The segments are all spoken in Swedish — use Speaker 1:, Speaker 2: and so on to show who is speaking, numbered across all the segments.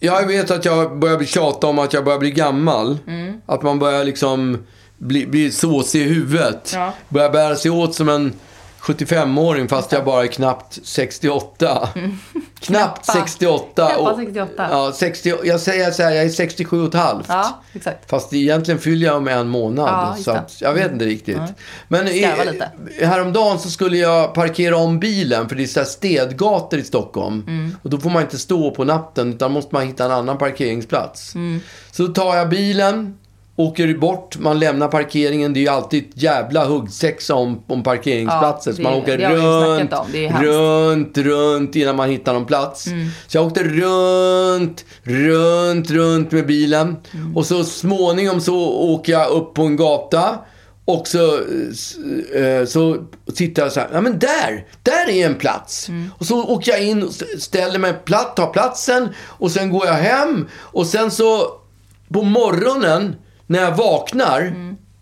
Speaker 1: Jag vet att jag börjar bli tjata om att jag börjar bli gammal.
Speaker 2: Mm.
Speaker 1: Att man börjar liksom bli, bli såsig i huvudet.
Speaker 2: Ja.
Speaker 1: Börjar bära sig åt som en 75-åring fast jag bara är knappt 68. Knappt
Speaker 2: Mm. Knappa.
Speaker 1: 68.
Speaker 2: Knappa
Speaker 1: och-
Speaker 2: 68.
Speaker 1: Ja, 60, jag säger så här, jag är 67 och ett halvt.
Speaker 2: Ja, exakt.
Speaker 1: Fast egentligen fyller jag om en månad.
Speaker 2: Ja, just
Speaker 1: så
Speaker 2: det.
Speaker 1: att, jag vet inte riktigt. Men i,
Speaker 2: Skarva lite.
Speaker 1: häromdagen så skulle jag parkera om bilen för det är så här städgator i Stockholm.
Speaker 2: Mm.
Speaker 1: Och då får man inte stå på natten utan måste man hitta en annan parkeringsplats.
Speaker 2: Mm.
Speaker 1: Så då tar jag bilen, åker bort, man lämnar parkeringen. Det är ju alltid ett jävla huggsexa om, om parkeringsplatser.
Speaker 2: Ja,
Speaker 1: så man
Speaker 2: det-
Speaker 1: åker
Speaker 2: det har vi ju snackat
Speaker 1: runt,
Speaker 2: om. Det är hemskt. Mm.
Speaker 1: runt runt, runt innan man hittar någon plats. Så jag åkte runt, runt, runt med bilen.
Speaker 2: Mm.
Speaker 1: Och så småningom så åker jag upp på en gata. Och så, eh, s- eh, så tittar jag så här, ja men där, där är en plats.
Speaker 2: Mm.
Speaker 1: Och så åker jag in och s- ställer mig platt, tar platsen och sen går jag hem. Och sen så på morgonen när jag vaknar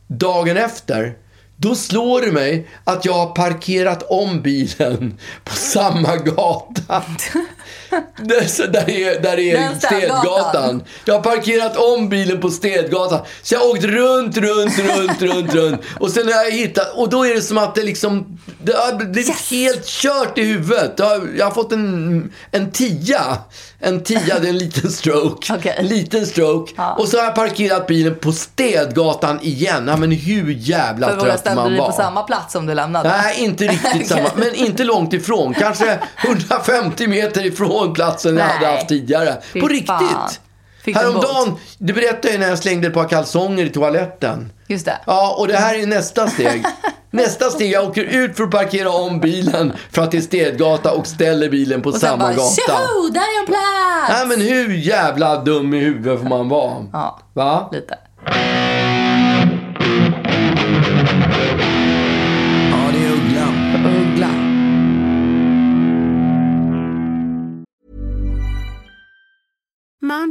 Speaker 1: dagen efter då slår det mig att jag har parkerat om bilen på samma gata. Där, så där är, där är
Speaker 2: Den städgatan.
Speaker 1: Städgatan. Jag har parkerat om bilen på Städgatan. Så jag har åkt runt, runt, runt, runt, runt. Och sen har jag hittat... Och då är det som att det liksom... Det har blivit
Speaker 2: Yes!
Speaker 1: helt kört i huvudet. Jag har, jag har fått en, en tia. En tia, det är en liten stroke.
Speaker 2: Okej.
Speaker 1: En liten stroke.
Speaker 2: Ja.
Speaker 1: Och så har jag parkerat bilen på Städgatan igen. Ja, men hur jävla
Speaker 2: Hur många
Speaker 1: trött
Speaker 2: ställde
Speaker 1: man
Speaker 2: du dig
Speaker 1: var.
Speaker 2: på samma plats som du lämnade?
Speaker 1: Nej, inte riktigt samma. Men inte långt ifrån. Kanske 150 meter ifrån platsen jag
Speaker 2: Nej.
Speaker 1: hade haft tidigare.
Speaker 2: Fy
Speaker 1: På
Speaker 2: fan.
Speaker 1: riktigt.
Speaker 2: Fick du
Speaker 1: Häromdagen, du berättade ju när jag slängde ett par kalsonger i toaletten.
Speaker 2: Just det.
Speaker 1: Ja, och det här är nästa steg. Nästa steg, jag åker ut för att parkera om bilen för att det är städgata och ställer bilen på
Speaker 2: Och sen
Speaker 1: samma
Speaker 2: bara
Speaker 1: gata.
Speaker 2: tjoho, där är en plats!
Speaker 1: Nej men hur jävla dum i huvudet får man vara?
Speaker 2: Ja.
Speaker 1: Va?
Speaker 2: Lite.
Speaker 1: Ja, det är Ugglan.
Speaker 2: Uggla.
Speaker 3: Mom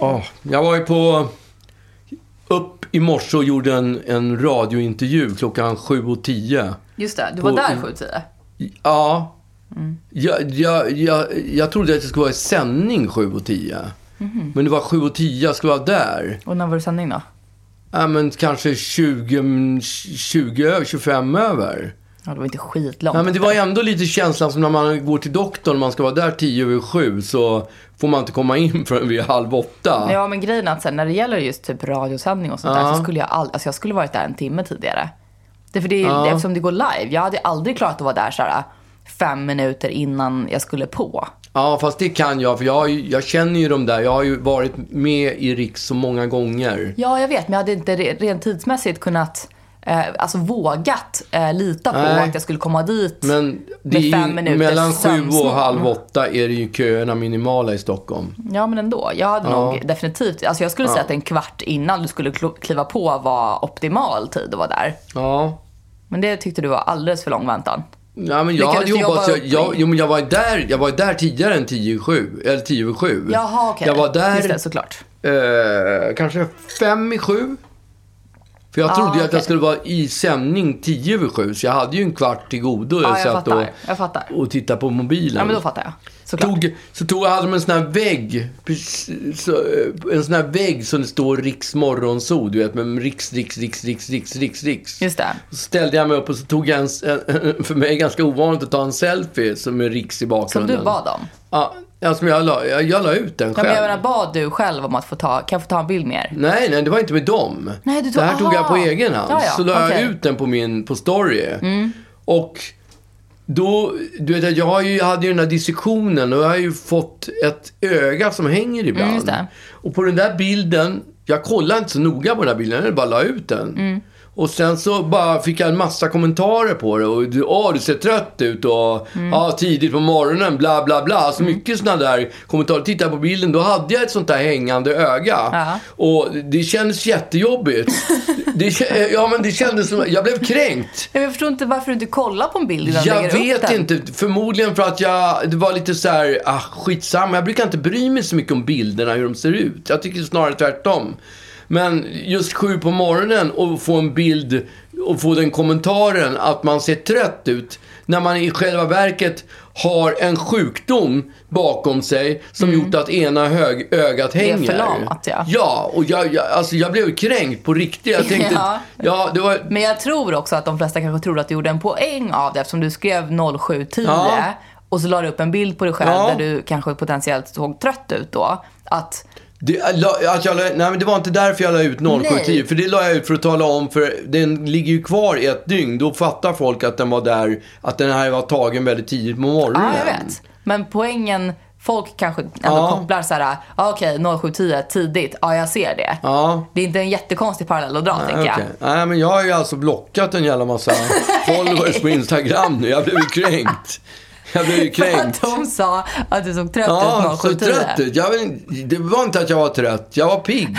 Speaker 1: Ja, jag var ju på... Upp i morse och gjorde en, en radiointervju klockan 7.10.
Speaker 2: Just det, du var
Speaker 1: På-
Speaker 2: där 7-10.
Speaker 1: Ja. Jag, jag, jag, jag trodde att det skulle vara i sändning 7.10. Men det var 7.10 jag skulle vara där.
Speaker 2: Och när var det sändning då?
Speaker 1: Ja, men kanske 20, 20 över, 25 över.
Speaker 2: Ja, det var inte skitlångt.
Speaker 1: Ja, men det var ändå lite känslan som när man går till doktorn och man ska vara där 10 över 7 så får man inte komma in förrän vid halv åtta.
Speaker 2: Ja men grejen är att sen, när det gäller just typ radiosändning och sånt där så skulle jag aldrig, alltså jag skulle varit där en timme tidigare. Det är för det är, eftersom det går live. Jag hade aldrig klarat att vara där såhär fem minuter innan jag skulle på.
Speaker 1: Ja, fast det kan jag för jag, har ju- jag känner ju de där. Jag har ju varit med i Riks så många gånger.
Speaker 2: Ja jag vet men jag hade inte re- rent tidsmässigt kunnat, eh, alltså vågat eh, lita på
Speaker 1: Nej.
Speaker 2: att jag skulle komma dit.
Speaker 1: Men det
Speaker 2: Med
Speaker 1: är
Speaker 2: fem
Speaker 1: ju,
Speaker 2: minuters
Speaker 1: mellan sju och
Speaker 2: sömnsmål.
Speaker 1: halv åtta är det ju köerna minimala i Stockholm.
Speaker 2: Ja men ändå. Jag hade nog definitivt, alltså jag skulle säga att en kvart innan du skulle klo- kliva på var optimal tid att vara där.
Speaker 1: Ja.
Speaker 2: Men det tyckte du var alldeles för lång väntan.
Speaker 1: Ja, men jag
Speaker 2: Lyckades
Speaker 1: hade
Speaker 2: du
Speaker 1: jobbat,
Speaker 2: jobba
Speaker 1: så
Speaker 2: upp
Speaker 1: jag,
Speaker 2: i-
Speaker 1: jag, jo, men jag var ju där, jag var ju där tidigare än 10 sju, eller 10 över sju.
Speaker 2: Jaha okej.
Speaker 1: Jag var eh,
Speaker 2: Just det,
Speaker 1: där
Speaker 2: såklart.
Speaker 1: eh, kanske fem i sju. För jag trodde ju att
Speaker 2: Ah, okej.
Speaker 1: jag skulle vara i sändning 10 över 7, så jag hade ju en kvart till godo.
Speaker 2: Ja, jag
Speaker 1: satt
Speaker 2: fattar. Jag fattar.
Speaker 1: och tittade på mobilen.
Speaker 2: Ja, men då fattar jag. Såklart.
Speaker 1: Tog, så tog, hade de en sån här vägg, precis- så, eh, en sån här vägg som det står Riks morgonsol, du vet, med Riks, Riks, Riks, Riks, Riks, Riks, Riks.
Speaker 2: Just det.
Speaker 1: Så ställde jag mig upp och så tog jag en, s- en, en- för mig ganska ovanligt att ta en selfie som är Riks i
Speaker 2: Som
Speaker 1: bakgrunden.
Speaker 2: du bad om.
Speaker 1: Ja, ja, som jag la, jag, jag la ut den
Speaker 2: Ja,
Speaker 1: själv.
Speaker 2: men jag menar, bad du själv om att få ta, kan jag få ta en bild med er?
Speaker 1: Nej, nej, det var inte med dem.
Speaker 2: Nej, du tog-
Speaker 1: det här tog jag på
Speaker 2: aha.
Speaker 1: egen hand.
Speaker 2: Ja, ja,
Speaker 1: Så la
Speaker 2: okej. Mm.
Speaker 1: jag ut den på min på story. Och då, du vet, jag har ju, hade ju den här dissektionen och jag har ju fått ett öga som hänger ibland.
Speaker 2: Mm, just det.
Speaker 1: Och på den där bilden, jag kollade inte så noga på den där bilden, jag bara la ut den.
Speaker 2: Mm.
Speaker 1: Och sen så bara fick jag en massa kommentarer på det. Och du, åh, du ser trött ut och
Speaker 2: Mm.
Speaker 1: ja, tidigt på morgonen, bla bla bla. Så mycket sådana där kommentarer. Titta på bilden, då hade jag ett sånt där hängande öga.
Speaker 2: Ja.
Speaker 1: Och det kändes jättejobbigt. det, kä- ja, men det kändes som, jag blev kränkt.
Speaker 2: Jag förstår inte varför du inte kollar på en bild innan du
Speaker 1: Jag
Speaker 2: lägger upp
Speaker 1: vet
Speaker 2: den.
Speaker 1: inte. Förmodligen för att jag, det var lite så här, ah, skitsamma. Jag brukar inte bry mig så mycket om bilderna, hur de ser ut. Jag tycker snarare tvärtom. Men just sju på morgonen och få en bild och få den kommentaren att man ser trött ut. När man i själva verket har en sjukdom bakom sig som gjort att ena hög, ögat hänger.
Speaker 2: Mm. förlamat, ja.
Speaker 1: Ja, och jag, jag, alltså jag blev kränkt på riktigt. Jag tänkte,
Speaker 2: Ja.
Speaker 1: ja. det var,
Speaker 2: Men jag tror också att de flesta kanske tror att du gjorde en poäng av det eftersom du skrev 07.10
Speaker 1: Ja.
Speaker 2: och så la du upp en bild på dig själv
Speaker 1: Ja.
Speaker 2: där du kanske potentiellt såg trött ut då. Att,
Speaker 1: Det, äh, la- att jag la, nej, men det var inte därför jag la ut 0710.
Speaker 2: Nej.
Speaker 1: För det la jag ut för att tala om, för den ligger ju kvar i ett dygn. Då fattar folk att den var där, att den här var tagen väldigt tidigt på morgonen.
Speaker 2: ja jag vet. Men poängen, folk kanske ändå
Speaker 1: Ja.
Speaker 2: kopplar så här, ah, okej 07.10 tidigt, ja jag ser det.
Speaker 1: Ja.
Speaker 2: Det är inte en jättekonstig parallell att dra tänker jag.
Speaker 1: Okej. Nej, men jag har ju alltså blockat en jävla massa followers på Instagram nu. Jag blev ju kränkt. Jag blev ju
Speaker 2: För att
Speaker 1: kränkt.
Speaker 2: de sa att du såg trött
Speaker 1: Ja,
Speaker 2: ut
Speaker 1: så
Speaker 2: 07.10.
Speaker 1: trött ut. Jag, vill- det var inte att jag var trött. Jag var pigg.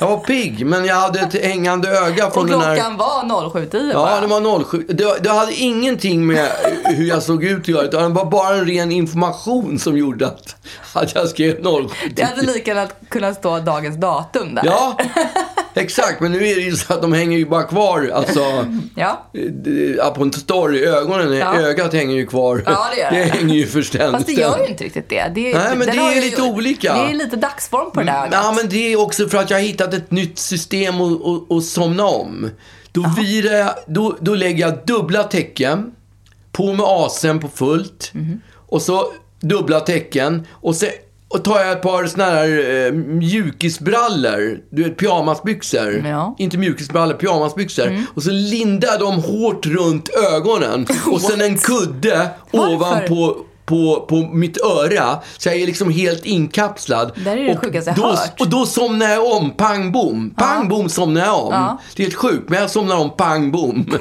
Speaker 1: Jag var pigg, men jag hade ett hängande öga från
Speaker 2: Och
Speaker 1: den här...
Speaker 2: klockan var 07.10
Speaker 1: Ja,
Speaker 2: bara.
Speaker 1: det var 07. Det, var- det hade ingenting med hur jag såg ut att göra. utan Det var bara en ren information som gjorde att, att jag skrev 07.
Speaker 2: Det hade lika gärna kunnat stå dagens datum där.
Speaker 1: Ja, exakt. Men nu är det ju så att de hänger ju bara kvar. Alltså,
Speaker 2: ja.
Speaker 1: eh, ja, på en story. Ögonen,
Speaker 2: Ja.
Speaker 1: ögat hänger ju kvar.
Speaker 2: Ja, det gör det.
Speaker 1: hänger ju för ständigt.
Speaker 2: Fast det gör ju inte riktigt det. det är,
Speaker 1: Nej, men
Speaker 2: den
Speaker 1: det
Speaker 2: har
Speaker 1: är
Speaker 2: ju-
Speaker 1: lite olika.
Speaker 2: Det är lite dagsform på det där.
Speaker 1: Mm. Ja, men det är också för att jag har hittat ett nytt system att- att- att somna om. Då, virar jag, då, då lägger jag dubbla täcken, på med asen på fullt
Speaker 2: Mhm.
Speaker 1: och så dubbla täcken och så och tar jag ett par såna här eh, mjukisbrallor, du vet pyjamasbyxor.
Speaker 2: Ja. Mm.
Speaker 1: Inte mjukisbrallor, pyjamasbyxor. Och så lindar jag dem hårt runt ögonen och sen en kudde
Speaker 2: Varför?
Speaker 1: ovanpå på, på mitt öra. Så jag är liksom helt inkapslad.
Speaker 2: Det här är det sjukaste jag
Speaker 1: då,
Speaker 2: hört.
Speaker 1: Och då somnar jag om, pang bom. Pang bom somnar jag om.
Speaker 2: Ja.
Speaker 1: Det är helt sjukt, men jag somnar om, pang bom.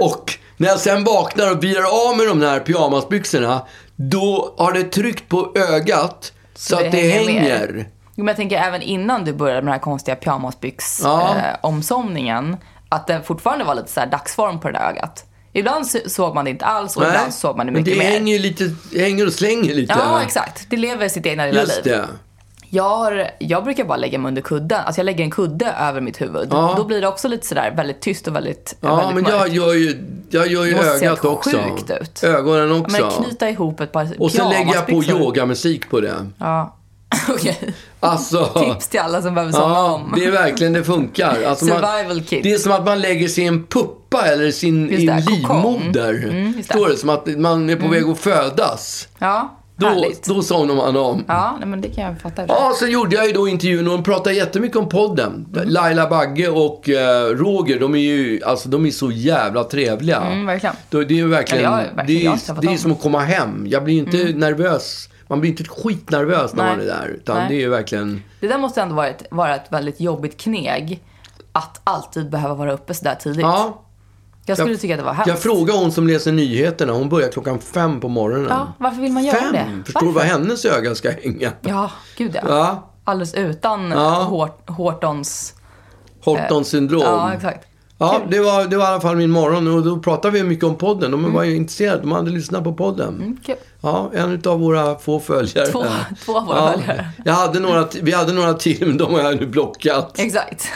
Speaker 1: Och när jag sen vaknar och virar av med de här pyjamasbyxorna, då har det tryckt på ögat så, att det hänger.
Speaker 2: med. Jo, men jag tänker även innan du började med den här konstiga
Speaker 1: Ja.
Speaker 2: pyjamasbyx-omsomningen. att det fortfarande var lite så här dagsform på det där ögat. Ibland så- såg man det inte alls och
Speaker 1: Nej,
Speaker 2: ibland såg man det
Speaker 1: men
Speaker 2: mycket
Speaker 1: det
Speaker 2: mer.
Speaker 1: hänger ju lite, det hänger och slänger lite.
Speaker 2: Ja, exakt. Det lever sitt egna lilla
Speaker 1: Just
Speaker 2: liv.
Speaker 1: det.
Speaker 2: Jag, har, jag brukar bara lägga mig under kudden. Alltså jag lägger en kudde över mitt huvud.
Speaker 1: Ja.
Speaker 2: Då blir det också lite sådär väldigt tyst och väldigt
Speaker 1: Ja,
Speaker 2: väldigt
Speaker 1: men
Speaker 2: mörkt.
Speaker 1: jag gör ju, jag gör ju
Speaker 2: Det måste se
Speaker 1: ögat
Speaker 2: helt
Speaker 1: också.
Speaker 2: sjukt ut.
Speaker 1: Ögonen
Speaker 2: Ja,
Speaker 1: också.
Speaker 2: Men knyta ihop ett par
Speaker 1: och sen lägger jag på
Speaker 2: pyjamasbyxor.
Speaker 1: yogamusik på det.
Speaker 2: Ja. Okej.
Speaker 1: Alltså,
Speaker 2: Tips till alla som behöver somna
Speaker 1: ja,
Speaker 2: om.
Speaker 1: det är verkligen, det funkar. Alltså
Speaker 2: Survival kit.
Speaker 1: Det är som att man lägger sig i en puppa eller sin,
Speaker 2: Just
Speaker 1: i en
Speaker 2: det, kokong.
Speaker 1: livmoder.
Speaker 2: Mm, just det.
Speaker 1: Står det som att man är på väg att födas.
Speaker 2: Ja,
Speaker 1: Då,
Speaker 2: härligt.
Speaker 1: då somnar man om. Ja.
Speaker 2: Ja, nej, men det kan jag fatta.
Speaker 1: sen gjorde jag ju då intervjun och de pratar jättemycket om podden.
Speaker 2: Mm.
Speaker 1: Laila Bagge och eh, Roger, de är ju alltså, de är så jävla trevliga.
Speaker 2: Mm, verkligen.
Speaker 1: Då, det är ju verkligen,
Speaker 2: Ja, det är verkligen
Speaker 1: det
Speaker 2: jag
Speaker 1: är,
Speaker 2: som har fått
Speaker 1: det är
Speaker 2: dem. Mm.
Speaker 1: som att komma hem. Jag blir ju inte nervös. Man blir inte ett skitnervös när
Speaker 2: Nej.
Speaker 1: man är där. Utan
Speaker 2: Nej.
Speaker 1: det är ju verkligen...
Speaker 2: Det där måste ändå vara ett, vara ett väldigt jobbigt kneg. Att alltid behöva vara uppe så där tidigt.
Speaker 1: Ja,
Speaker 2: jag skulle tycka att det var hemskt.
Speaker 1: Jag frågade hon som läser nyheterna. Hon börjar klockan fem på morgonen.
Speaker 2: Ja, varför vill man göra
Speaker 1: fem?
Speaker 2: det?
Speaker 1: Förstår du
Speaker 2: Varför?
Speaker 1: vad hennes öga ska hänga?
Speaker 2: Ja, eh, gud ja.
Speaker 1: Ja.
Speaker 2: Alldeles utan
Speaker 1: Ja.
Speaker 2: Hort, Hortons... eh,
Speaker 1: Hortons syndrom.
Speaker 2: Ja, exakt.
Speaker 1: Ja, det var, det var i alla fall min morgon och då pratade vi mycket om podden.
Speaker 2: Mm.
Speaker 1: De var ju intresserade, de hade lyssnat på podden.
Speaker 2: Kul.
Speaker 1: Ja, en av våra få följare.
Speaker 2: Mm. Två- två av våra
Speaker 1: ja,
Speaker 2: följare.
Speaker 1: Jag hade några, t- vi hade några till, men de har jag nu blockat.
Speaker 2: Exakt.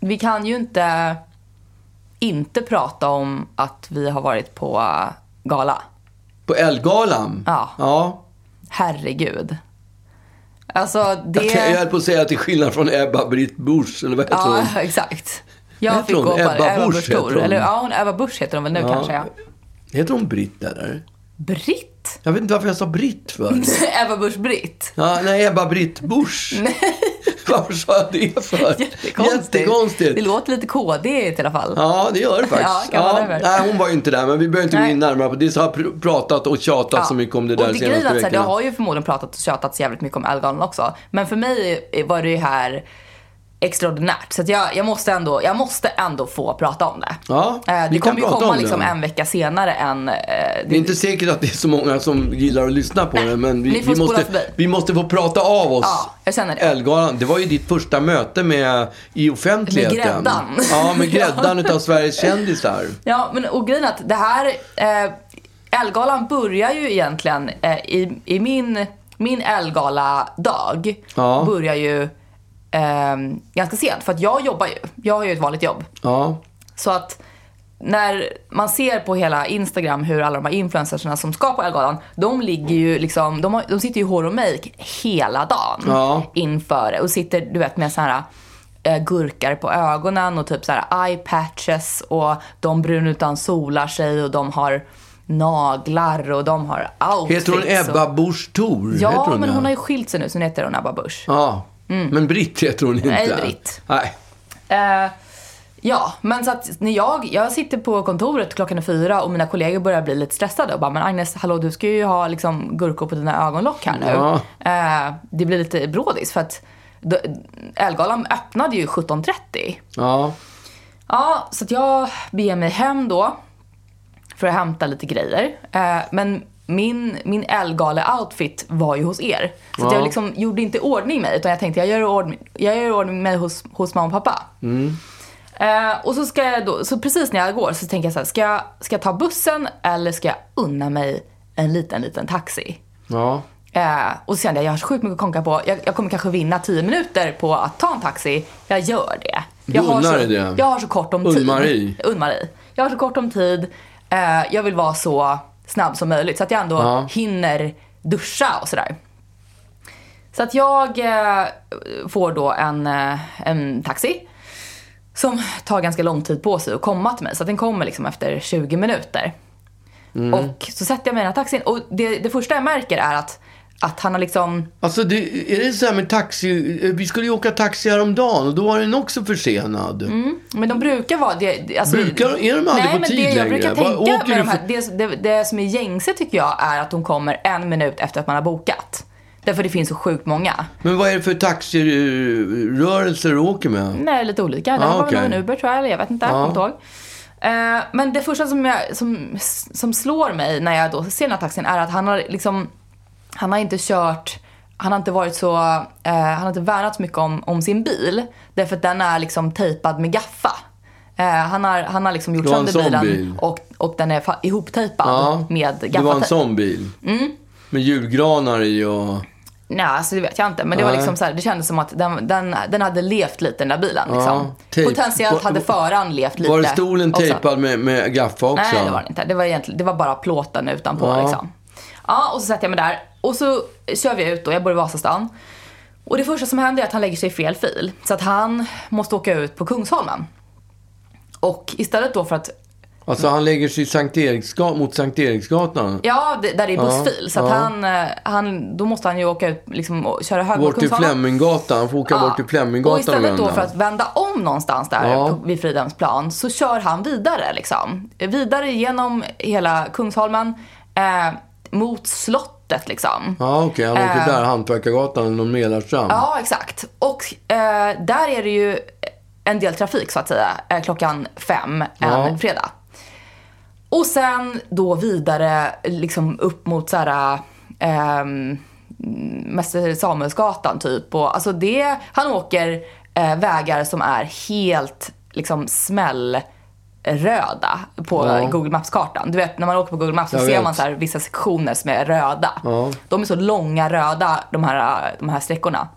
Speaker 2: Vi kan ju inte inte prata om att vi har varit på eh, gala.
Speaker 1: På Elgalan?
Speaker 2: Ja.
Speaker 1: ja.
Speaker 2: Herregud. Alltså det...
Speaker 1: Jag, kan, jag höll på att säga till skillnad från Ebba-Britt Busch, eller vad heter hon?
Speaker 2: Ja, exakt. Jag
Speaker 1: Heter
Speaker 2: fick
Speaker 1: hon
Speaker 2: gå på
Speaker 1: Ebba Busch, heter
Speaker 2: Thor.
Speaker 1: hon?
Speaker 2: Eller ja, hon, Ebba Busch heter hon väl nu kanske ja.
Speaker 1: Heter hon Britt eller?
Speaker 2: Britt?
Speaker 1: Jag vet inte varför jag sa Britt för.
Speaker 2: Ebba Busch Britt?
Speaker 1: Ja, nej, Ebba-Britt Busch. varför sa jag det för?
Speaker 2: Jättekonstigt. Det låter lite kodigt i alla fall.
Speaker 1: Ja, det gör det faktiskt.
Speaker 2: Ja, kan man över.
Speaker 1: nej, hon var ju inte där, men vi behöver inte gå
Speaker 2: Nej.
Speaker 1: in närmare på det. Jag har pr- pratat och tjatat
Speaker 2: Ja.
Speaker 1: så mycket om det där
Speaker 2: och det grejen är
Speaker 1: senaste
Speaker 2: att så här, det
Speaker 1: veckorna.
Speaker 2: har ju förmodligen pratat och tjatats jävligt mycket om Elgalan också. Men för mig var det ju här extraordinärt. Så att jag, jag, måste ändå, jag måste ändå få prata om det.
Speaker 1: Ja,
Speaker 2: Eh, det
Speaker 1: vi kan
Speaker 2: kommer ju
Speaker 1: prata
Speaker 2: komma
Speaker 1: om det.
Speaker 2: liksom en vecka senare än... eh,
Speaker 1: Det
Speaker 2: det,
Speaker 1: är inte säkert att det är så många som gillar att lyssna på
Speaker 2: Nej,
Speaker 1: det, men
Speaker 2: ni
Speaker 1: vi,
Speaker 2: får
Speaker 1: vi,
Speaker 2: spola
Speaker 1: måste,
Speaker 2: förbi.
Speaker 1: vi måste få prata av oss.
Speaker 2: Ja, jag känner det.
Speaker 1: Älvgalan, det var ju ditt första möte med, i offentligheten.
Speaker 2: Med gräddan.
Speaker 1: Ja, med gräddan utav Sveriges kändisar.
Speaker 2: ja, men och grejen är att det här... Eh, Elgalan börjar ju egentligen eh, i, i min, min Elgala-dag.
Speaker 1: Ja.
Speaker 2: Börjar ju eh, ganska sent. För att jag jobbar ju. Jag har ju ett vanligt jobb.
Speaker 1: Ja,
Speaker 2: Så att när man ser på hela Instagram hur alla de här influencersarna som ska på Elgalan, de ligger ju liksom, de, har, de sitter ju i hår och make hela dagen
Speaker 1: Ja.
Speaker 2: inför det. och sitter du vet med så här eh, gurkar på ögonen och typ så här eye patches och de brun utan solar sig och de har naglar och de har outfits.
Speaker 1: heter hon Ebba
Speaker 2: och...
Speaker 1: Busch Thor?
Speaker 2: Ja,
Speaker 1: heter hon
Speaker 2: men
Speaker 1: det?
Speaker 2: hon har ju skilt sig nu så nu heter hon Ebba Busch.
Speaker 1: Ja, men Britt heter hon inte.
Speaker 2: Mm. Nej, Britt.
Speaker 1: Nej.
Speaker 2: Eh, ja, men så att när jag, jag sitter på kontoret klockan är fyra och mina kollegor börjar bli lite stressade och bara “men Agnes, hallå du ska ju ha liksom gurkor på dina ögonlock här nu”.
Speaker 1: Ja.
Speaker 2: Eh, det blir lite brådis för att då- Elgalan öppnade ju 17.30.
Speaker 1: Ja,
Speaker 2: Ja, så att jag beger mig hem då för att hämta lite grejer. Eh, men min, min Elgale-outfit var ju hos er. Så att
Speaker 1: Ja.
Speaker 2: jag liksom gjorde inte i ordning mig utan jag tänkte jag gör i ordning, jag gör i ordning mig hos, hos mamma och pappa. Eh, och så ska jag då, så precis när jag går så tänker jag så här, ska jag, ska jag ta bussen eller ska jag unna mig en liten, liten taxi?
Speaker 1: ja.
Speaker 2: Eh, och så kände jag, jag har så sjukt mycket att konka på. Jag, jag kommer kanske vinna 10 minuter på att ta en taxi. Jag gör det. Jag har,
Speaker 1: unnar
Speaker 2: så,
Speaker 1: dig det.
Speaker 2: jag har så kort om tid.
Speaker 1: Unn-Marie.
Speaker 2: Unn-Marie. Jag har så kort om tid. Eh, jag vill vara så snabb som möjligt så att jag ändå
Speaker 1: Ja.
Speaker 2: hinner duscha och sådär. Så att jag eh, får då en, eh, en taxi som tar ganska lång tid på sig att komma till mig. Så att den kommer liksom efter 20 minuter. Och så sätter jag mig i den här taxin och det, det första jag märker är att, att han har liksom...
Speaker 1: Alltså, det, är det så här med taxi? Vi skulle ju åka taxi häromdagen och då var den också försenad.
Speaker 2: Mm. Men de brukar vara... Det, alltså,
Speaker 1: Brukar- är de aldrig
Speaker 2: nej,
Speaker 1: på
Speaker 2: men
Speaker 1: tid
Speaker 2: det jag
Speaker 1: längre?
Speaker 2: brukar
Speaker 1: Vad
Speaker 2: tänka
Speaker 1: åker
Speaker 2: med
Speaker 1: du
Speaker 2: de här,
Speaker 1: för-
Speaker 2: det, det, det som är gängse tycker jag är att de kommer en minut efter att man har bokat. Därför det finns så sjukt många.
Speaker 1: Men vad är det för taxirörelser du åker med?
Speaker 2: Nej, lite olika. Det
Speaker 1: Ah,
Speaker 2: här var
Speaker 1: okej.
Speaker 2: väl någon Uber tror jag, eller jag vet inte. Jag kommer inte ihåg. Eh, men det första som, jag, som, som slår mig när jag då ser den här taxin är att han har liksom, han har inte kört, han har inte varit så, eh, han har inte värnat så mycket om, om sin bil. Därför att den är liksom tejpad med gaffa. Eh, han, har, han har liksom gjort
Speaker 1: Det var en
Speaker 2: sönder
Speaker 1: sån
Speaker 2: bilen
Speaker 1: bil.
Speaker 2: och, och den är fa- ihoptejpad med Mm.
Speaker 1: det var en
Speaker 2: gaffatejp.
Speaker 1: sån bil. Med julgranar i och...
Speaker 2: Nej, alltså det vet jag inte. Men det var
Speaker 1: Nej.
Speaker 2: liksom så här, det kändes som att den, den, den hade levt lite den där bilen. Liksom.
Speaker 1: tejp.
Speaker 2: Potentiellt hade föraren levt lite.
Speaker 1: Var det stolen
Speaker 2: också.
Speaker 1: tejpad med, med gaffa också?
Speaker 2: Nej, det var det inte. Det var, egentligen, det var bara plåten utanpå
Speaker 1: Ja.
Speaker 2: liksom. Ja, och så sätter jag mig där. Och så kör vi ut då. Jag bor i Vasastan. Och det första som händer är att han lägger sig i fel fil. Så att han måste åka ut på Kungsholmen. Och istället då för att
Speaker 1: Alltså han lägger sig i Sankt Eriksgat- mot Sankt Eriksgatan.
Speaker 2: Ja, det, där det är bussfil. så att
Speaker 1: ja.
Speaker 2: han, eh, han, då måste han ju åka ut liksom, och köra höger
Speaker 1: Bort till
Speaker 2: Kungsholmen.
Speaker 1: Fleminggatan. Han får åka
Speaker 2: Ja.
Speaker 1: bort till Fleminggatan
Speaker 2: Och istället då
Speaker 1: vända.
Speaker 2: för att vända om någonstans där
Speaker 1: Ja.
Speaker 2: på- vid Fridhemsplan så kör han vidare liksom. Vidare genom hela Kungsholmen eh, mot slottet liksom.
Speaker 1: Ja, okej. Han åker
Speaker 2: Eh.
Speaker 1: där, Hantverkargatan och Mälarstrand.
Speaker 2: Ja, exakt. Och eh, där är det ju en del trafik så att säga eh, klockan fem en
Speaker 1: Ja.
Speaker 2: fredag. Och sen då vidare liksom upp mot så här ehm, Mäster Samuelsgatan typ. Och, alltså det, han åker eh, vägar som är helt liksom smällröda på Google Maps-kartan. Du vet när man åker på Google Maps så
Speaker 1: Jag
Speaker 2: ser
Speaker 1: vet.
Speaker 2: man så här vissa sektioner som är röda. De är så långa röda de här, de här sträckorna.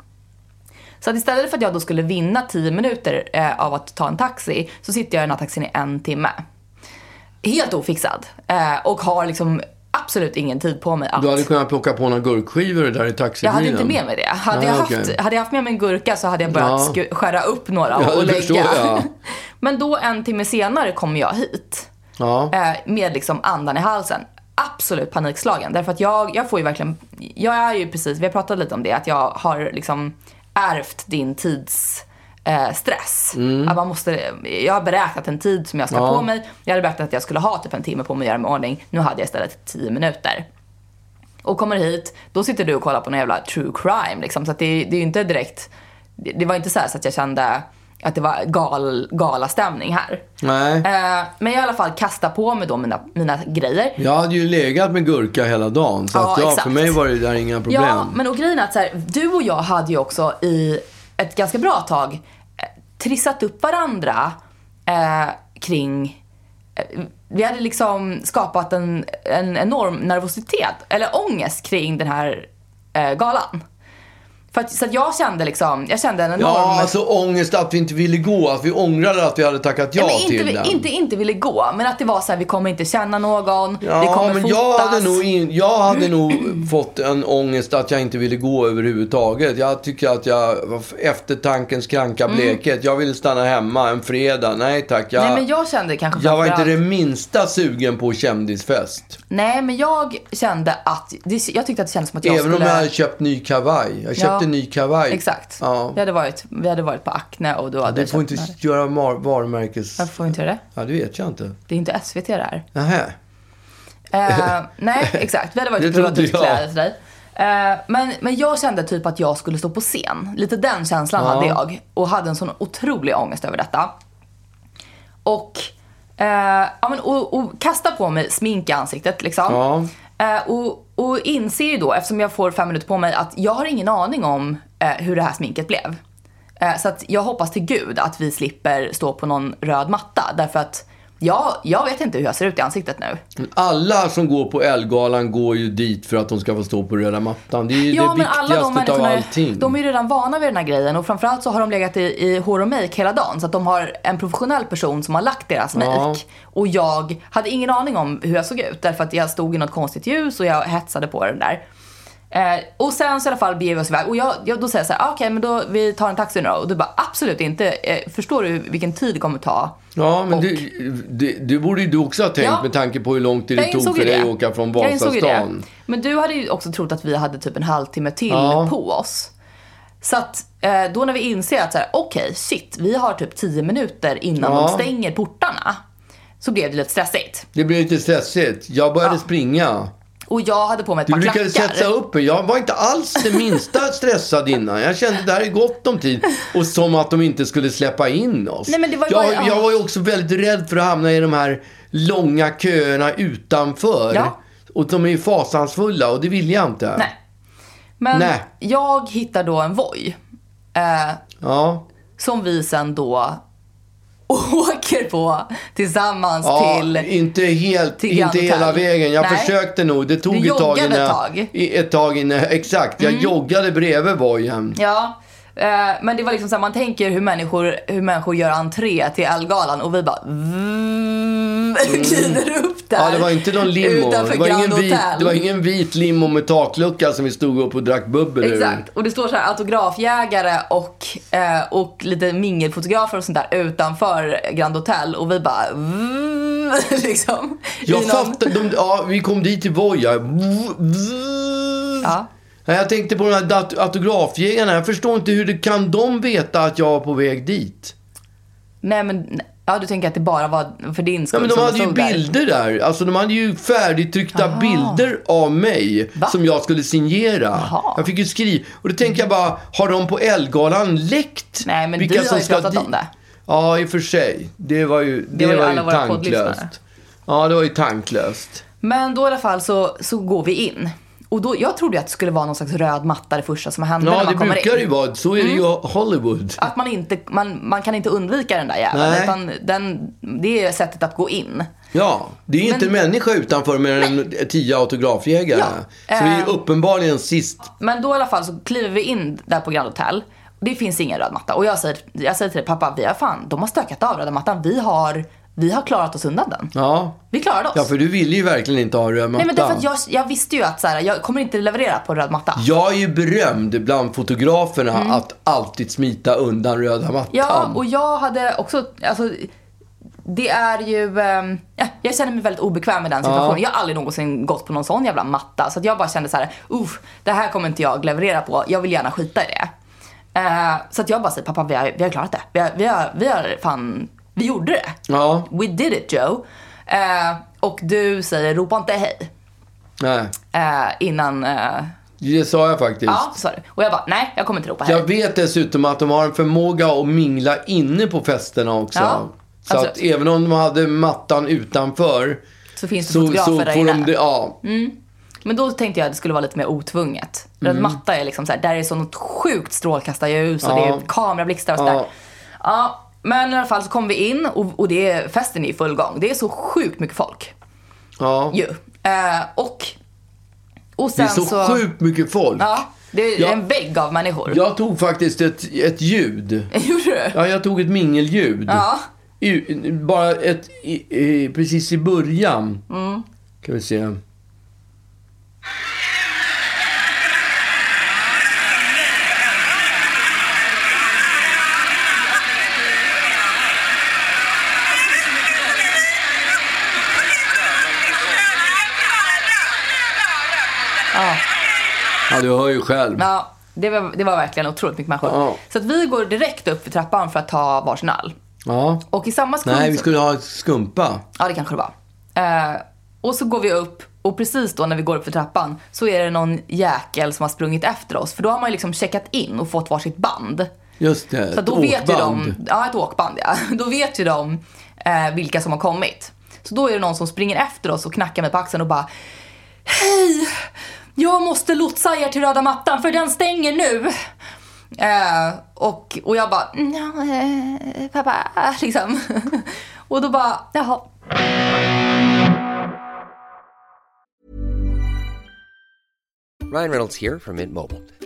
Speaker 2: Så att istället för att jag då skulle vinna 10 minuter eh, av att ta en taxi så sitter jag i den här taxin i en timme. Helt ofixad. Eh, och har liksom absolut ingen tid på mig att...
Speaker 1: Du hade kunnat plocka på några gurkskivor där i
Speaker 2: Jag
Speaker 1: taxibilen.
Speaker 2: hade inte med mig det. Hade,
Speaker 1: Nej,
Speaker 2: jag haft,
Speaker 1: okej.
Speaker 2: hade jag haft med mig en gurka så hade jag börjat
Speaker 1: Ja.
Speaker 2: sku- skära upp några
Speaker 1: Ja,
Speaker 2: och
Speaker 1: det förstår
Speaker 2: lägga.
Speaker 1: jag.
Speaker 2: Men då en timme senare kommer jag hit
Speaker 1: Ja.
Speaker 2: eh, med liksom andan i halsen. Absolut panikslagen. Därför att jag, jag får ju verkligen, jag är ju precis, vi har pratat lite om det, att jag har liksom ärvt din tids eh, stress. Att man måste, jag har beräknat en tid som jag ska
Speaker 1: Mm. Ja.
Speaker 2: på mig. Jag hade beräknat att jag skulle ha typ en timme på mig att göra mig i ordning. Nu hade jag istället 10 minuter. Och kommer hit, då sitter du och kollar på någon jävla true crime liksom. Så att det, det är ju inte direkt, det, det var inte så, här så att jag kände att det var gal, galastämning här.
Speaker 1: Nej.
Speaker 2: Eh, men jag i alla fall kastar på mig då mina, mina grejer.
Speaker 1: Jag hade ju legat med gurka hela dagen. Så
Speaker 2: Ja,
Speaker 1: att, ja,
Speaker 2: exakt.
Speaker 1: för mig var det där inga problem.
Speaker 2: Ja, men och grejen är att så här, du och jag hade ju också i ett ganska bra tag eh, trissat upp varandra eh, kring eh, vi hade liksom skapat en, en enorm nervositet, eller ångest kring den här eh, galan. För att, så att jag kände liksom, jag kände en enorm...
Speaker 1: Ja, alltså ångest att vi inte ville gå. Att vi ångrade att vi hade tackat ja,
Speaker 2: Nej, men
Speaker 1: till
Speaker 2: inte,
Speaker 1: den.
Speaker 2: vi- inte, inte ville gå, men att det var så här, vi kommer inte känna någon, vi
Speaker 1: Ja,
Speaker 2: kommer
Speaker 1: men
Speaker 2: fotas.
Speaker 1: jag hade, nog in, jag hade nog fått en ångest att jag inte ville gå överhuvudtaget. Jag tycker att jag var f- eftertankens kranka blekhet. Jag ville stanna hemma en fredag. Nej tack. Jag,
Speaker 2: Mm. Nej men jag kände kanske
Speaker 1: jag var inte
Speaker 2: framförallt-
Speaker 1: det minsta sugen på kändisfest.
Speaker 2: Nej, men jag kände att... Det, jag tyckte att det kändes som att jag
Speaker 1: Även
Speaker 2: skulle...
Speaker 1: om jag hade köpt ny kavaj. Jag köpte ny kavaj.
Speaker 2: Exakt.
Speaker 1: Ja.
Speaker 2: Vi, hade varit, vi hade varit på Acne och då hade
Speaker 1: Du
Speaker 2: jag
Speaker 1: får
Speaker 2: köpt
Speaker 1: inte
Speaker 2: den här.
Speaker 1: göra mar- varumärkes...
Speaker 2: Varför får vi inte göra det?
Speaker 1: Ja, det vet jag inte.
Speaker 2: Det är inte SVT det här.
Speaker 1: Nähä.
Speaker 2: Eh, nej, exakt. Vi hade varit
Speaker 1: Det
Speaker 2: och provat
Speaker 1: trodde
Speaker 2: ut
Speaker 1: jag.
Speaker 2: kläder till dig. Eh, men, men jag kände typ att jag skulle stå på scen. Lite den känslan hade jag. Och hade en sån otrolig ångest över detta. Och, eh, ja, men, och, och kasta på mig smink i ansiktet liksom.
Speaker 1: Ja.
Speaker 2: Eh, och, och inser ju då, eftersom jag får fem minuter på mig, att jag har ingen aning om eh, hur det här sminket blev. Eh, så att jag hoppas till gud att vi slipper stå på någon röd matta. Därför att jag, jag vet inte hur jag ser ut i ansiktet nu.
Speaker 1: Alla som går på Ellegalan går ju dit för att de ska få stå på röda mattan. Det är ju det viktigaste av allting.
Speaker 2: de liksom är ju redan vana vid den här grejen och framförallt så har de legat i, i hår och make hela dagen. Så att de har en professionell person som har lagt deras make.
Speaker 1: Ja.
Speaker 2: Och jag hade ingen aning om hur jag såg ut därför att jag stod i något konstigt ljus och jag hetsade på den där. Eh, och sen så i alla fall beger vi oss iväg och jag, jag, då säger jag så här, "Ah, okej men då vi tar en taxi nu då. Och du bara absolut inte, eh, förstår du vilken tid det kommer ta?
Speaker 1: Ja, men
Speaker 2: Och-
Speaker 1: det, det, det borde ju du också ha tänkt
Speaker 2: Ja.
Speaker 1: med tanke på hur lång tid det
Speaker 2: Jag
Speaker 1: tog
Speaker 2: insåg
Speaker 1: för
Speaker 2: ju
Speaker 1: dig
Speaker 2: det.
Speaker 1: att åka från
Speaker 2: Jag insåg ju
Speaker 1: Vasastan.
Speaker 2: det. Men du hade ju också trott att vi hade typ en halvtimme till
Speaker 1: Ja.
Speaker 2: på oss. Så att eh, då när vi inser att så här, okej, shit, vi har typ 10 minuter innan
Speaker 1: Ja.
Speaker 2: de stänger portarna. Så blev det lite stressigt.
Speaker 1: Det blev lite stressigt. Jag började springa.
Speaker 2: Och jag hade på mig ett
Speaker 1: Du
Speaker 2: par
Speaker 1: lyckades
Speaker 2: klackar.
Speaker 1: hetsa upp mig. Jag var inte alls det minsta stressad innan. Jag kände det här är gott om tid. Och som att de inte skulle släppa in oss.
Speaker 2: Nej, men det var ju
Speaker 1: jag,
Speaker 2: bara-
Speaker 1: jag var ju också väldigt rädd för att hamna i de här långa köerna utanför.
Speaker 2: Ja.
Speaker 1: Och de är ju fasansfulla och det vill jag inte.
Speaker 2: Nej. Men
Speaker 1: Nej.
Speaker 2: jag hittar då en Voi. Eh,
Speaker 1: Ja.
Speaker 2: som vi sen då åker på tillsammans
Speaker 1: Ja,
Speaker 2: till...
Speaker 1: inte helt,
Speaker 2: till Grand
Speaker 1: inte hela
Speaker 2: Hotel.
Speaker 1: vägen. Jag
Speaker 2: Nej.
Speaker 1: försökte nog. Det tog
Speaker 2: Du
Speaker 1: ett tag
Speaker 2: joggade
Speaker 1: innan.
Speaker 2: ett
Speaker 1: jag-
Speaker 2: tag. Mm.
Speaker 1: i- Ett tag innan, exakt. Jag joggade bredvid Vojen.
Speaker 2: Ja, eh, men det var liksom så här, man tänker hur människor, hur människor gör entré till Ellegalan och vi bara mm, glider upp där.
Speaker 1: Ja, det var inte någon limo.
Speaker 2: Utanför
Speaker 1: Det var,
Speaker 2: Grand
Speaker 1: ingen vit,
Speaker 2: Hotel.
Speaker 1: det var ingen vit limo med taklucka som vi stod upp och drack bubbel ur.
Speaker 2: Exakt, och det står så här autografjägare och, eh, och lite mingelfotografer och sånt där utanför Grand Hotel och vi bara mm, liksom. i
Speaker 1: Jag
Speaker 2: någon-
Speaker 1: fattar, de, ja, vi kom dit till Voja.
Speaker 2: Ja.
Speaker 1: Nej, Jag tänkte på de här dat- autografjägarna. Jag förstår inte hur det, kan de veta att jag var på väg dit?
Speaker 2: Nej men, ja du tänker att det bara var för din
Speaker 1: Ja,
Speaker 2: skull
Speaker 1: men de
Speaker 2: som
Speaker 1: hade ju
Speaker 2: stod där.
Speaker 1: bilder där. Alltså de hade ju färdigtryckta bilder av mig
Speaker 2: Va?
Speaker 1: som jag skulle signera. Jag fick ju skriva. Och då tänker jag bara, har de på Ellegalan läckt?
Speaker 2: Nej, men
Speaker 1: vilka
Speaker 2: du har
Speaker 1: som
Speaker 2: ju
Speaker 1: ska
Speaker 2: pratat
Speaker 1: di-
Speaker 2: om det.
Speaker 1: Ja, i och för sig. Det var ju, det
Speaker 2: var ju
Speaker 1: var
Speaker 2: alla
Speaker 1: ju
Speaker 2: våra poddlyssnare.
Speaker 1: tanklöst. Ja, det var ju tanklöst.
Speaker 2: Men då i alla fall så, så går vi in. Och då, jag trodde ju att det skulle vara någon slags röd matta det första som hände
Speaker 1: Ja,
Speaker 2: när
Speaker 1: det
Speaker 2: man kommer
Speaker 1: brukar det ju
Speaker 2: in. Mm.
Speaker 1: vara. Så är det ju Hollywood.
Speaker 2: Att man inte, man, man kan inte undvika den där
Speaker 1: Nej.
Speaker 2: jäveln. Utan den, det är sättet att gå in.
Speaker 1: Ja, det är ju inte en människa utanför mer än tio autografjägare.
Speaker 2: Ja,
Speaker 1: Så vi är
Speaker 2: eh.
Speaker 1: uppenbarligen sist.
Speaker 2: Men då i alla fall så kliver vi in där på Grand Hotel. Det finns ingen röd matta. Och jag säger, jag säger till dig, pappa, vi har fan, de har stökat av röda mattan. Vi har, vi har klarat oss undan den.
Speaker 1: Ja.
Speaker 2: Vi klarade oss.
Speaker 1: ja, för du ville ju verkligen inte ha röd matta.
Speaker 2: Nej men därför att jag, jag visste ju att så här, jag kommer inte leverera på röd matta.
Speaker 1: Jag är ju berömd bland fotograferna att alltid smita undan röda mattan.
Speaker 2: Mm. Ja, och jag hade också, alltså, det är ju, ehm, ja, jag känner mig väldigt obekväm i den situationen. Jag har aldrig någonsin gått på någon sån jävla matta. Så att jag bara kände så här, uff, det här kommer inte jag leverera på. Jag vill gärna skita i det. Eh, så att jag bara säger, pappa vi har, vi har klarat det. Vi har, vi, har, vi har fan, vi gjorde det.
Speaker 1: Ja.
Speaker 2: We did it Joe. Eh, och du säger, ropa inte hej.
Speaker 1: Nej,
Speaker 2: eh, innan, eh,
Speaker 1: det sa jag faktiskt.
Speaker 2: ja så sa du. Och jag bara, nej jag kommer inte ropa hej.
Speaker 1: Jag vet dessutom att de har en förmåga att mingla inne på festerna också.
Speaker 2: Ja, Alltså-
Speaker 1: Så att
Speaker 2: absolut.
Speaker 1: även om de hade mattan utanför
Speaker 2: Så finns det
Speaker 1: så, så
Speaker 2: fotografer där
Speaker 1: får de
Speaker 2: inne. Mm.
Speaker 1: det. Ja.
Speaker 2: Men då tänkte jag att det skulle vara lite mer otvunget. Röd
Speaker 1: Mm.
Speaker 2: matta är liksom så här, där är sånt sjukt strålkastarljus och det
Speaker 1: Ja.
Speaker 2: är kamerablixtar och sådär.
Speaker 1: Ja.
Speaker 2: Ja. men i alla fall så kom vi in och, och det är, festen är i full gång. Det är så sjukt mycket folk
Speaker 1: ja.
Speaker 2: ju. Eh, och, och
Speaker 1: Det
Speaker 2: sen
Speaker 1: är så, sjukt mycket folk.
Speaker 2: Ja, det är
Speaker 1: Ja.
Speaker 2: en vägg av människor.
Speaker 1: Jag tog faktiskt ett, ett ljud.
Speaker 2: Gjorde du?
Speaker 1: Ja, jag tog ett mingelljud.
Speaker 2: Ja.
Speaker 1: I, bara ett, i, i, precis i början.
Speaker 2: Mm.
Speaker 1: Kan vi se.
Speaker 2: Ja.
Speaker 1: Ja, du hör ju själv.
Speaker 2: Ja, det var, det var verkligen otroligt mycket människor.
Speaker 1: Ja.
Speaker 2: Så att vi går direkt upp för trappan för att ta varsin all.
Speaker 1: Ja.
Speaker 2: Och i samma sekund
Speaker 1: Nej, vi
Speaker 2: så-
Speaker 1: skulle ha skumpa.
Speaker 2: Ja, det kanske det var. Eh, och så går vi upp och precis då när vi går upp för trappan så är det någon jäkel som har sprungit efter oss. För då har man ju liksom checkat in och fått varsitt band.
Speaker 1: Just det,
Speaker 2: Så att då
Speaker 1: ett
Speaker 2: vet ju de,
Speaker 1: åkband.
Speaker 2: ja ett åkband ja. Då vet ju de eh, vilka som har kommit. Så då är det någon som springer efter oss och knackar mig på axeln och bara Hej! Jag måste lotsa er till röda mattan för den stänger nu. Eh, och, och jag bara, "Nja, eh, pappa, liksom. och då bara, jaha.
Speaker 4: Ryan Reynolds here from Mint Mobile.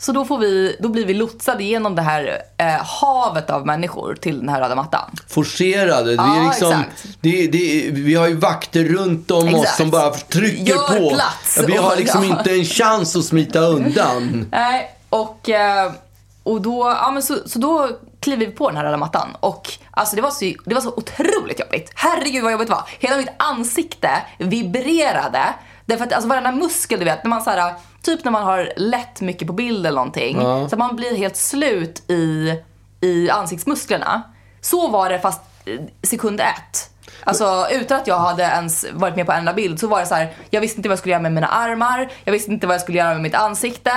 Speaker 2: Så då, får vi, då blir vi lotsade genom det här eh, havet av människor till den här röda mattan.
Speaker 1: Forcerade. Det är
Speaker 2: Ja,
Speaker 1: liksom,
Speaker 2: exakt.
Speaker 1: det, det, vi har ju vakter runt om oss
Speaker 2: Exakt.
Speaker 1: som bara trycker
Speaker 2: Gör
Speaker 1: på.
Speaker 2: plats.
Speaker 1: Ja, Vi har
Speaker 2: Och-
Speaker 1: liksom
Speaker 2: ja.
Speaker 1: inte en chans att smita undan.
Speaker 2: Nej, och, eh, och då, ja, men så, så då kliver vi på den här röda mattan. Och alltså det var, så, det var så otroligt jobbigt. Herregud vad jobbigt det var. Hela mitt ansikte vibrerade. Därför att alltså varenda muskel du vet, när man så här, typ när man har lätt mycket på bild eller någonting. Så att man blir helt slut i, i ansiktsmusklerna. Så var det fast eh, sekund ett. Alltså utan att jag hade ens varit med på en enda bild så var det så här, jag visste inte vad jag skulle göra med mina armar, jag visste inte vad jag skulle göra med mitt ansikte.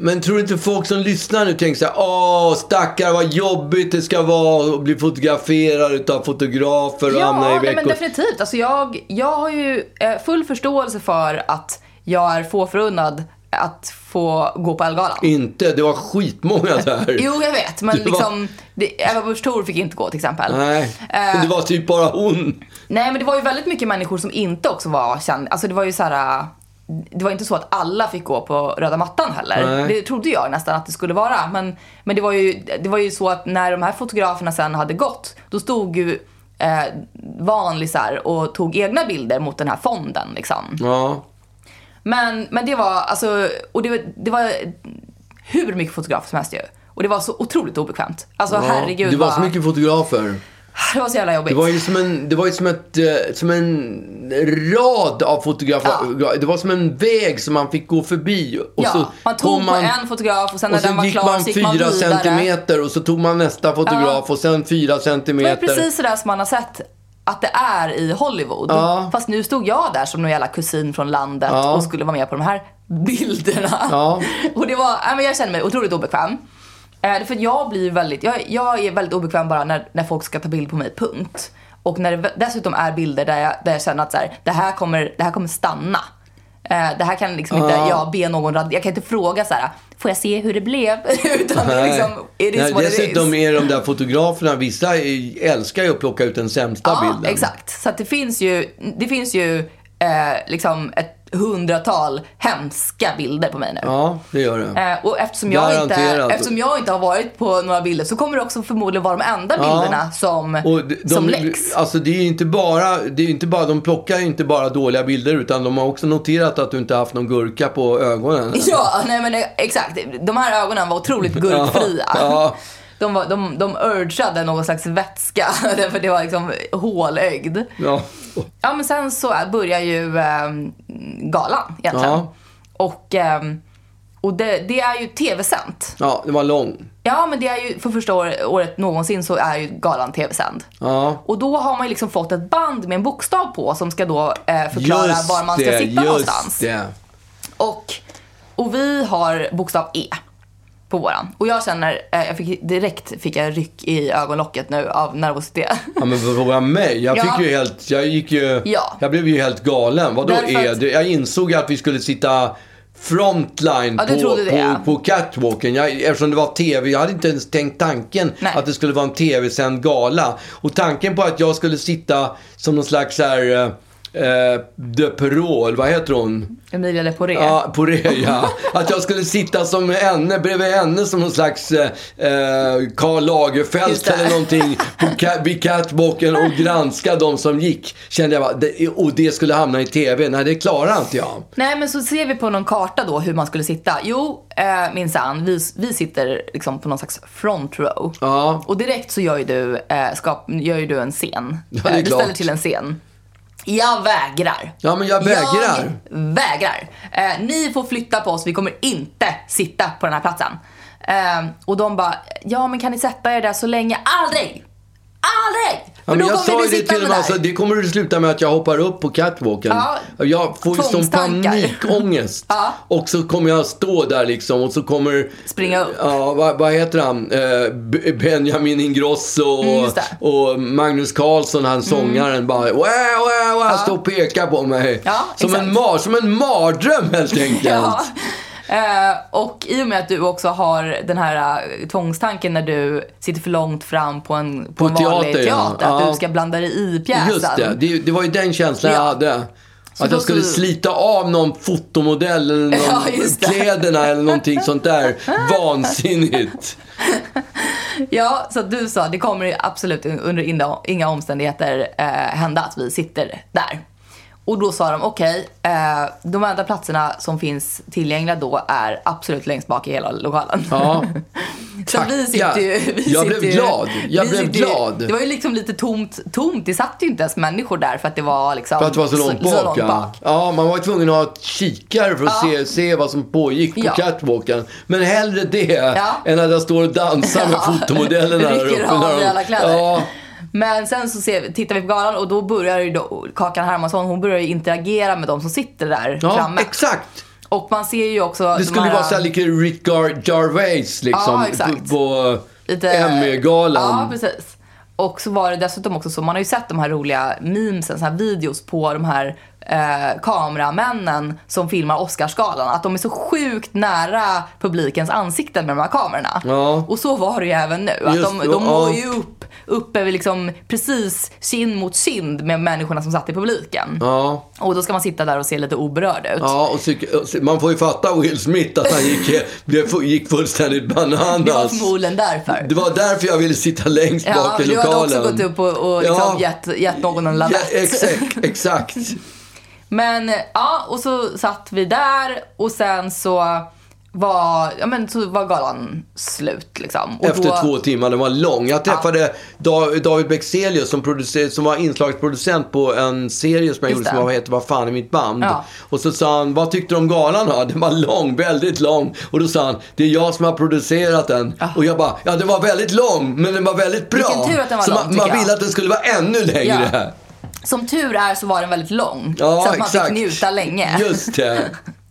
Speaker 1: Men tror du inte folk som lyssnar nu tänker så här, åh stackare vad jobbigt det ska vara att bli fotograferad utav fotografer och hamna i
Speaker 2: nej, men
Speaker 1: veckor.
Speaker 2: definitivt. Alltså jag, jag har ju eh, full förståelse för att jag är få förunnad att få gå på Ellegalan.
Speaker 1: Inte, det var skitmånga där.
Speaker 2: Jo, jag vet. Men
Speaker 1: Det var-
Speaker 2: liksom, det, Eva Busch Thor fick inte gå till exempel.
Speaker 1: Nej,
Speaker 2: Eh,
Speaker 1: det var typ bara hon.
Speaker 2: Nej, men det var ju väldigt mycket människor som inte också var kända. Alltså det var ju så här. äh, Det var inte så att alla fick gå på röda mattan heller.
Speaker 1: Nej.
Speaker 2: Det trodde jag nästan att det skulle vara. Men, men det, var ju, det var ju så att när de här fotograferna sen hade gått, då stod ju eh, vanlisar och tog egna bilder mot den här fonden. Liksom.
Speaker 1: Ja.
Speaker 2: Men, men det var, alltså, och det, var- det var hur mycket fotografer som helst ju. Och det var så otroligt obekvämt. Alltså herregud.
Speaker 1: det var
Speaker 2: vad-
Speaker 1: så mycket fotografer.
Speaker 2: det var så jävla jobbigt.
Speaker 1: Det var ju som en, det var ju som ett, eh, som en rad av fotografer. Det var som en väg som man fick gå förbi. Och
Speaker 2: ja,
Speaker 1: så
Speaker 2: man tog
Speaker 1: kom man,
Speaker 2: på en fotograf och sen när
Speaker 1: och sen
Speaker 2: den var
Speaker 1: gick
Speaker 2: klar
Speaker 1: man
Speaker 2: så gick man
Speaker 1: fyra
Speaker 2: vidare.
Speaker 1: centimeter och så tog man nästa fotograf och sen fyra
Speaker 2: Det var
Speaker 1: centimeter.
Speaker 2: ju precis sådär som man har sett att det är i Hollywood. Fast nu stod jag där som någon jävla kusin från landet och skulle vara med på de här bilderna.
Speaker 1: Ja.
Speaker 2: Och det var, nej, men jag kände mig otroligt obekväm. Eh, det är för att jag blir väldigt, jag, jag är väldigt obekväm bara när, när folk ska ta bild på mig, punkt. Och när det v- dessutom är bilder där jag, där jag känner att så här, det, här kommer, det här kommer stanna. Eh, Det här kan liksom inte jag be någon, rad- jag kan inte fråga så här. får jag se hur det blev? Utan det är
Speaker 1: Nej.
Speaker 2: liksom, it is
Speaker 1: Nej,
Speaker 2: what it is.
Speaker 1: dessutom är de där fotograferna, vissa är- älskar ju att plocka ut den sämsta bilden.
Speaker 2: exakt. Så att det finns ju, det finns ju eh, liksom ett hundratal hemska bilder på mig nu.
Speaker 1: Ja, det gör det.
Speaker 2: Eh, och eftersom jag, inte,
Speaker 1: Garanterat.
Speaker 2: eftersom jag inte har varit på några bilder så kommer det också förmodligen vara de enda bilderna som,
Speaker 1: Och de, de,
Speaker 2: som läcks.
Speaker 1: Alltså det är ju inte bara, det är ju inte bara, de plockar ju inte bara dåliga bilder utan de har också noterat att du inte haft någon gurka på ögonen.
Speaker 2: Ja, nej men eh, exakt. De här ögonen var otroligt gurkfria.
Speaker 1: Ja.
Speaker 2: De, var, de, de urgeade någon slags vätska, för det var liksom hålögd.
Speaker 1: Ja.
Speaker 2: Ja men sen så börjar ju eh, galan egentligen.
Speaker 1: Ja.
Speaker 2: Och, eh, och det, det är ju tv-sänt.
Speaker 1: ja, det var lång.
Speaker 2: Ja men det är ju för första år, året någonsin så är ju galan tv-sänd.
Speaker 1: Ja.
Speaker 2: Och då har man ju liksom fått ett band med en bokstav på som ska då eh, förklara var man ska
Speaker 1: det,
Speaker 2: sitta
Speaker 1: just
Speaker 2: någonstans.
Speaker 1: Det.
Speaker 2: Och, och vi har bokstav E på våran. Och jag känner, eh, jag fick, direkt fick jag ryck i ögonlocket nu av nervositet.
Speaker 1: Ja men fråga mig. Jag
Speaker 2: Ja.
Speaker 1: fick ju helt, jag gick ju,
Speaker 2: Ja.
Speaker 1: jag blev ju helt galen. Vadå
Speaker 2: Därför
Speaker 1: är
Speaker 2: att-
Speaker 1: det? Jag insåg att vi skulle sitta frontline
Speaker 2: Ja, du
Speaker 1: på,
Speaker 2: trodde det, ja.
Speaker 1: på, på catwalken. Jag, eftersom det var TV. Jag hade inte ens tänkt tanken
Speaker 2: Nej.
Speaker 1: att det skulle vara en TV-sänd gala. Och tanken på att jag skulle sitta som någon slags så här, eh, eh, de Perol, vad heter hon?
Speaker 2: Emilia Leporé.
Speaker 1: Ja, på det ja. Att jag skulle sitta som henne, bredvid henne som någon slags eh, eh, Karl
Speaker 2: Just
Speaker 1: Lagerfeld
Speaker 2: det.
Speaker 1: eller någonting på ca- vid catwalken och granska de som gick. Kände jag bara, det, och det skulle hamna i TV. Nej, det klarar inte jag.
Speaker 2: Nej men så ser vi på någon karta då hur man skulle sitta. Jo, eh, minsann, vi, vi sitter liksom på någon slags front row.
Speaker 1: Ja.
Speaker 2: Och direkt så gör ju du, eh, skap, gör ju du en scen.
Speaker 1: det är
Speaker 2: Eh, du
Speaker 1: klart.
Speaker 2: ställer till en scen. Jag vägrar.
Speaker 1: Ja, men jag vägrar.
Speaker 2: Jag vägrar. Eh, ni får flytta på oss, vi kommer inte sitta på den här platsen. Eh, och de bara, ja men kan ni sätta er där så länge? Aldrig! Aldrig! För
Speaker 1: Ja, men
Speaker 2: då
Speaker 1: jag
Speaker 2: kommer
Speaker 1: sa
Speaker 2: ni
Speaker 1: ju det
Speaker 2: sitta
Speaker 1: till
Speaker 2: med
Speaker 1: dem, alltså,
Speaker 2: där.
Speaker 1: det kommer att sluta med att jag hoppar upp på catwalken.
Speaker 2: Ja,
Speaker 1: jag får ju sån
Speaker 2: tvångstankar.
Speaker 1: panikångest. Och så kommer jag stå där liksom och så kommer...
Speaker 2: Springa upp.
Speaker 1: Ja, vad, vad heter han? Eh, B- Benjamin Ingrosso och,
Speaker 2: Mm, just det. Mm.
Speaker 1: och Magnus Carlsson, han sångaren, bara wow, wow, wow, står och pekar på mig.
Speaker 2: Ja,
Speaker 1: som, en
Speaker 2: exakt.
Speaker 1: mar, som en mardröm helt enkelt.
Speaker 2: Ja. Eh, och i och med att du också har den här eh, tvångstanken när du sitter för långt fram på en, på
Speaker 1: På
Speaker 2: en vanlig
Speaker 1: teater,
Speaker 2: teater,
Speaker 1: ja.
Speaker 2: att
Speaker 1: Ja.
Speaker 2: du ska blanda dig i pjäsen.
Speaker 1: Just det, det, det var ju den känslan
Speaker 2: Ja.
Speaker 1: jag hade. att
Speaker 2: då
Speaker 1: jag skulle
Speaker 2: så-
Speaker 1: slita av någon fotomodell eller någon
Speaker 2: Ja, just det.
Speaker 1: kläderna eller någonting sånt där vansinnigt.
Speaker 2: Ja, så att du sa det kommer ju absolut under inga- inga omständigheter eh, hända att vi sitter där. Och då sa de okej, eh, de enda platserna som finns tillgängliga då är absolut längst bak i hela lokalen.
Speaker 1: Ja.
Speaker 2: Så vi sitter ju, vi
Speaker 1: Jag
Speaker 2: sitter
Speaker 1: blev
Speaker 2: ju,
Speaker 1: glad. Jag
Speaker 2: vi
Speaker 1: blev
Speaker 2: sitter ju-
Speaker 1: glad.
Speaker 2: Det var ju liksom lite tomt, tomt. Det satt ju inte ens människor där för att det var liksom
Speaker 1: För att det var så långt bak,
Speaker 2: så långt
Speaker 1: ja.
Speaker 2: bak.
Speaker 1: ja. Man var tvungen att ha ett kikare för att
Speaker 2: Ja.
Speaker 1: se, se vad som pågick på
Speaker 2: Ja.
Speaker 1: catwalken. Men hellre det
Speaker 2: Ja.
Speaker 1: än att jag står och dansar med fotomodellerna där
Speaker 2: Rycker
Speaker 1: uppe.
Speaker 2: av
Speaker 1: när de-
Speaker 2: dig alla kläder.
Speaker 1: Ja,
Speaker 2: Men sen så ser, vi- tittar vi på galan och då börjar ju då Kakan Hermansson, hon börjar ju interagera med de som sitter där
Speaker 1: ja
Speaker 2: framme.
Speaker 1: exakt.
Speaker 2: Och man ser ju också
Speaker 1: Det
Speaker 2: de
Speaker 1: skulle ju
Speaker 2: här-
Speaker 1: vara såhär lite Rickard Gervais liksom.
Speaker 2: Ja, exakt.
Speaker 1: på på
Speaker 2: lite-
Speaker 1: Emmy-galan.
Speaker 2: Ja, precis. Och så var det dessutom också så, man har ju sett de här roliga memesen, så här videos på de här eh, kameramännen som filmar Oscarsgalan. Att de är så sjukt nära publikens ansikten med de här kamerorna.
Speaker 1: Ja.
Speaker 2: Och så var det ju även nu. Att
Speaker 1: Just
Speaker 2: de,
Speaker 1: det,
Speaker 2: de
Speaker 1: ja.
Speaker 2: når ju upp, uppe vid liksom precis kind mot kind med människorna som satt i publiken.
Speaker 1: Ja.
Speaker 2: Och då ska man sitta där och se lite oberörd ut.
Speaker 1: Ja, och psyk- och psy- man får ju fatta Will Smith att han gick, blev, fu- gick fullständigt bananas.
Speaker 2: Det var förmodligen därför.
Speaker 1: Det var därför jag ville sitta längst
Speaker 2: Ja,
Speaker 1: bak i
Speaker 2: du
Speaker 1: lokalen.
Speaker 2: hade också gått upp och, och liksom
Speaker 1: Ja.
Speaker 2: gett, gett någon en lavett.
Speaker 1: Ja, exakt, exakt.
Speaker 2: Men ja, och så satt vi där och sen så var, ja, men, så var galan slut. Liksom. Och
Speaker 1: Efter
Speaker 2: då-
Speaker 1: två timmar, den var lång. Jag träffade Da- David Bexelius som, producer- som var inslagsproducent på en serie som jag
Speaker 2: Just
Speaker 1: gjorde
Speaker 2: det.
Speaker 1: som hette Vad fan är mitt band?
Speaker 2: Ja.
Speaker 1: Och så sa han, vad tyckte du om galan då? Den var lång, väldigt lång. Och då sa han, det är jag som har producerat den. Och jag bara, ja den var väldigt lång, men den var väldigt bra.
Speaker 2: Vilken tur att den var
Speaker 1: så
Speaker 2: lång,
Speaker 1: man,
Speaker 2: tycker
Speaker 1: man
Speaker 2: jag.
Speaker 1: ville att den skulle vara ännu längre.
Speaker 2: Ja. Som tur är så var den väldigt lång.
Speaker 1: Ja,
Speaker 2: så att man
Speaker 1: exakt.
Speaker 2: fick njuta länge.
Speaker 1: Just det.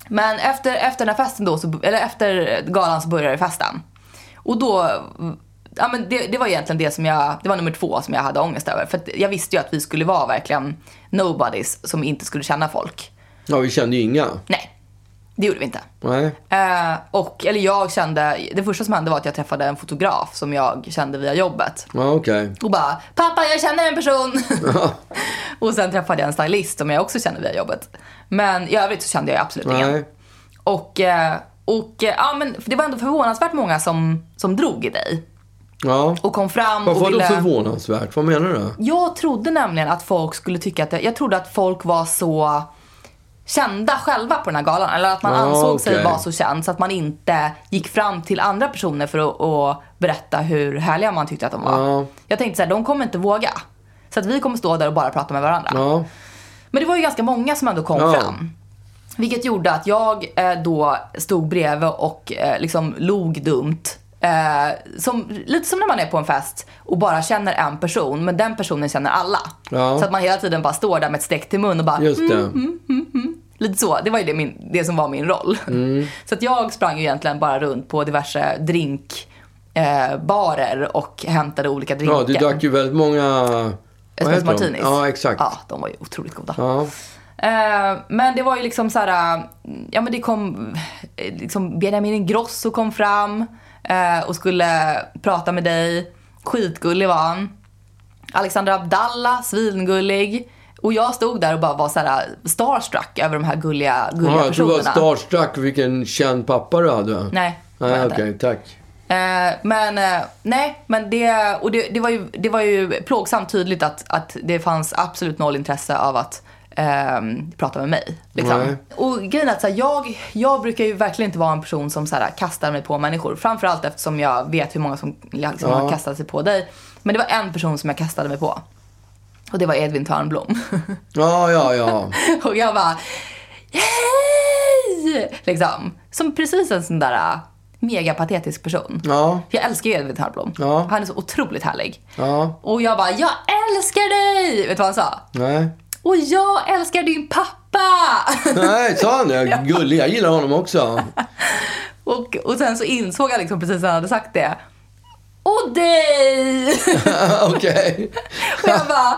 Speaker 2: Men efter, efter den här festen då, så, eller efter galan så började festen. Och då, ja men det, det var egentligen det som jag, det var nummer två som jag hade ångest över. För att jag visste ju att vi skulle vara verkligen nobodies som inte skulle känna folk.
Speaker 1: Ja, vi kände ju inga.
Speaker 2: Nej, det gjorde vi inte.
Speaker 1: Nej.
Speaker 2: Eh, och, eller jag kände, det första som hände var att jag träffade en fotograf som jag kände via jobbet.
Speaker 1: Ja, okej.
Speaker 2: Och bara, pappa jag känner en person. och sen träffade jag en stylist som jag också kände via jobbet. Men i övrigt så kände jag absolut ingen.
Speaker 1: Nej.
Speaker 2: Och, eh, och eh, ja, men det var ändå förvånansvärt många som, som drog i dig.
Speaker 1: Ja.
Speaker 2: Och kom fram
Speaker 1: Varför
Speaker 2: och
Speaker 1: var
Speaker 2: ville...
Speaker 1: det förvånansvärt? Vad menar du?
Speaker 2: Jag trodde nämligen att folk skulle tycka att... det- Jag trodde att folk var så kända själva på den här galan. Eller att man
Speaker 1: Ah,
Speaker 2: ansåg sig
Speaker 1: okej.
Speaker 2: vara så känd så att man inte gick fram till andra personer för att och berätta hur härliga man tyckte att de var.
Speaker 1: Ja.
Speaker 2: Jag tänkte så här, de kommer inte våga. Så att vi kommer stå där och bara prata med varandra.
Speaker 1: Ja.
Speaker 2: Men det var ju ganska många som ändå kom
Speaker 1: Ja.
Speaker 2: fram. Vilket gjorde att jag eh, då stod bredvid och eh, liksom log dumt. Eh, som, lite som när man är på en fest och bara känner en person, men den personen känner alla.
Speaker 1: Ja.
Speaker 2: Så att man hela tiden bara står där med ett streck till mun och bara
Speaker 1: Just det.
Speaker 2: mm. Lite så. Det var ju det, min, det som var min roll.
Speaker 1: Mm.
Speaker 2: Så att jag sprang ju egentligen bara runt på diverse drinkbarer eh, barer och hämtade olika drinkar.
Speaker 1: Ja, du drack ju väldigt många... vad
Speaker 2: Espresso
Speaker 1: heter de?
Speaker 2: martinis.
Speaker 1: Ja, exakt.
Speaker 2: Ja, de var ju otroligt goda.
Speaker 1: Ja.
Speaker 2: Eh, men det var ju liksom så här, eh, ja men det kom, eh, liksom Benjamin Ingrosso kom fram eh, och skulle prata med dig. Skitgullig var han. Alexandra Abdallah, svingullig. Och jag stod där och bara var så här starstruck över de här gulliga, gulliga
Speaker 1: Ja, jag tror du var
Speaker 2: personerna.
Speaker 1: starstruck vilken känd pappa du hade.
Speaker 2: Nej, det var
Speaker 1: Nej,
Speaker 2: jag
Speaker 1: Ah, okej,
Speaker 2: inte.
Speaker 1: tack.
Speaker 2: Eh, men eh, nej, men det, och det, det, var ju, det var ju plågsamt tydligt att, att det fanns absolut noll intresse av att ehm, prata med mig.
Speaker 1: Nej.
Speaker 2: Liksom. Och grejen är att så här, jag, jag brukar ju verkligen inte vara en person som så här, kastar mig på människor. Framförallt eftersom jag vet hur många som liksom, har kastat sig på dig. Men det var en person som jag kastade mig på. Och det var Edvin Törnblom.
Speaker 1: Ja, ja, ja.
Speaker 2: Och jag bara Hej! Liksom. Som precis en sån där äh, megapatetisk person.
Speaker 1: Ja.
Speaker 2: Jag älskar ju Edvin Törnblom.
Speaker 1: Ja.
Speaker 2: Han är så otroligt härlig.
Speaker 1: Ja.
Speaker 2: Och jag bara, jag älskar dig! Vet du vad han sa?
Speaker 1: Nej.
Speaker 2: Och jag älskar din pappa!
Speaker 1: Nej, sa han det? Gullig, jag gillar honom också.
Speaker 2: och, och sen så insåg jag liksom precis när han hade sagt det. Och dig!
Speaker 1: Okej.
Speaker 2: och jag bara,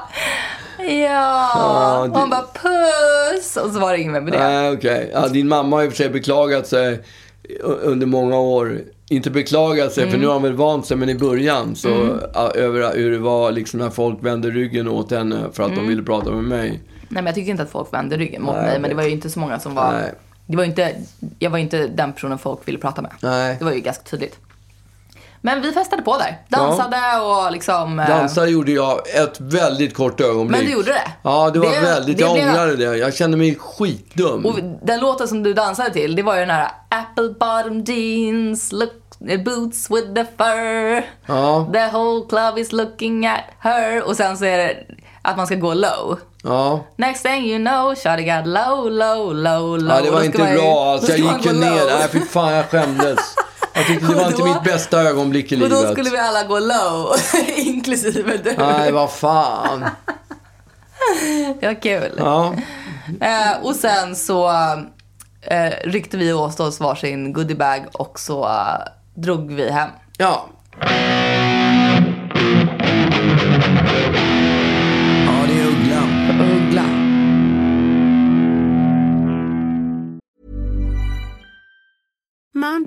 Speaker 2: ja.
Speaker 1: Ja,
Speaker 2: Och han
Speaker 1: det-
Speaker 2: bara, puss! Och så var det inget mer med det.
Speaker 1: Nej, Ah, okej. Ja, din mamma har i och för sig beklagat sig u- under många år. Inte beklagat sig,
Speaker 2: Mm.
Speaker 1: för nu har hon väl vant sig, men i början så ja, över hur det var liksom när folk vände ryggen åt henne för att de
Speaker 2: Mm.
Speaker 1: ville prata med mig.
Speaker 2: Nej men jag tycker inte att folk vände ryggen mot
Speaker 1: Nej,
Speaker 2: mig
Speaker 1: jag
Speaker 2: men det
Speaker 1: vet.
Speaker 2: var ju inte så många som var...
Speaker 1: Nej.
Speaker 2: Det var ju inte, jag var ju inte den personen folk ville prata med.
Speaker 1: Nej.
Speaker 2: Det var ju ganska tydligt. Men vi festade på där. Dansade och liksom... eh,
Speaker 1: Dansa gjorde jag ett väldigt kort ögonblick.
Speaker 2: Men du gjorde det?
Speaker 1: Ja, det var
Speaker 2: Det-
Speaker 1: väldigt...
Speaker 2: det
Speaker 1: jag
Speaker 2: blev-
Speaker 1: ångrade det. Jag kände mig skitdum.
Speaker 2: Och den låten som du dansade till, det var ju den här Apple bottom jeans, look, eh, boots with the fur.
Speaker 1: Ja.
Speaker 2: The whole club is looking at her. Och sen så är det att man ska gå low.
Speaker 1: Ja.
Speaker 2: Next thing you know, shawty got low, low, low, low.
Speaker 1: ja, det
Speaker 2: Och då
Speaker 1: var
Speaker 2: ska
Speaker 1: inte
Speaker 2: man ju-
Speaker 1: bra.
Speaker 2: då
Speaker 1: Alltså,
Speaker 2: ska
Speaker 1: jag
Speaker 2: man
Speaker 1: gick ju
Speaker 2: gå
Speaker 1: ner.
Speaker 2: low.
Speaker 1: Nej, fy fan, jag skämdes. Jag tyckte det
Speaker 2: Och
Speaker 1: var inte
Speaker 2: då-
Speaker 1: mitt bästa ögonblick i
Speaker 2: Och
Speaker 1: livet.
Speaker 2: då skulle vi alla gå low, inklusive du.
Speaker 1: Nej, vad fan.
Speaker 2: Det var kul.
Speaker 1: Ja.
Speaker 2: Eh, och sen så eh, ryckte vi åt oss varsin goodiebag och så eh, drog vi hem.
Speaker 1: Ja. Ja, det är Ugglan.
Speaker 2: Uggla.
Speaker 3: Mom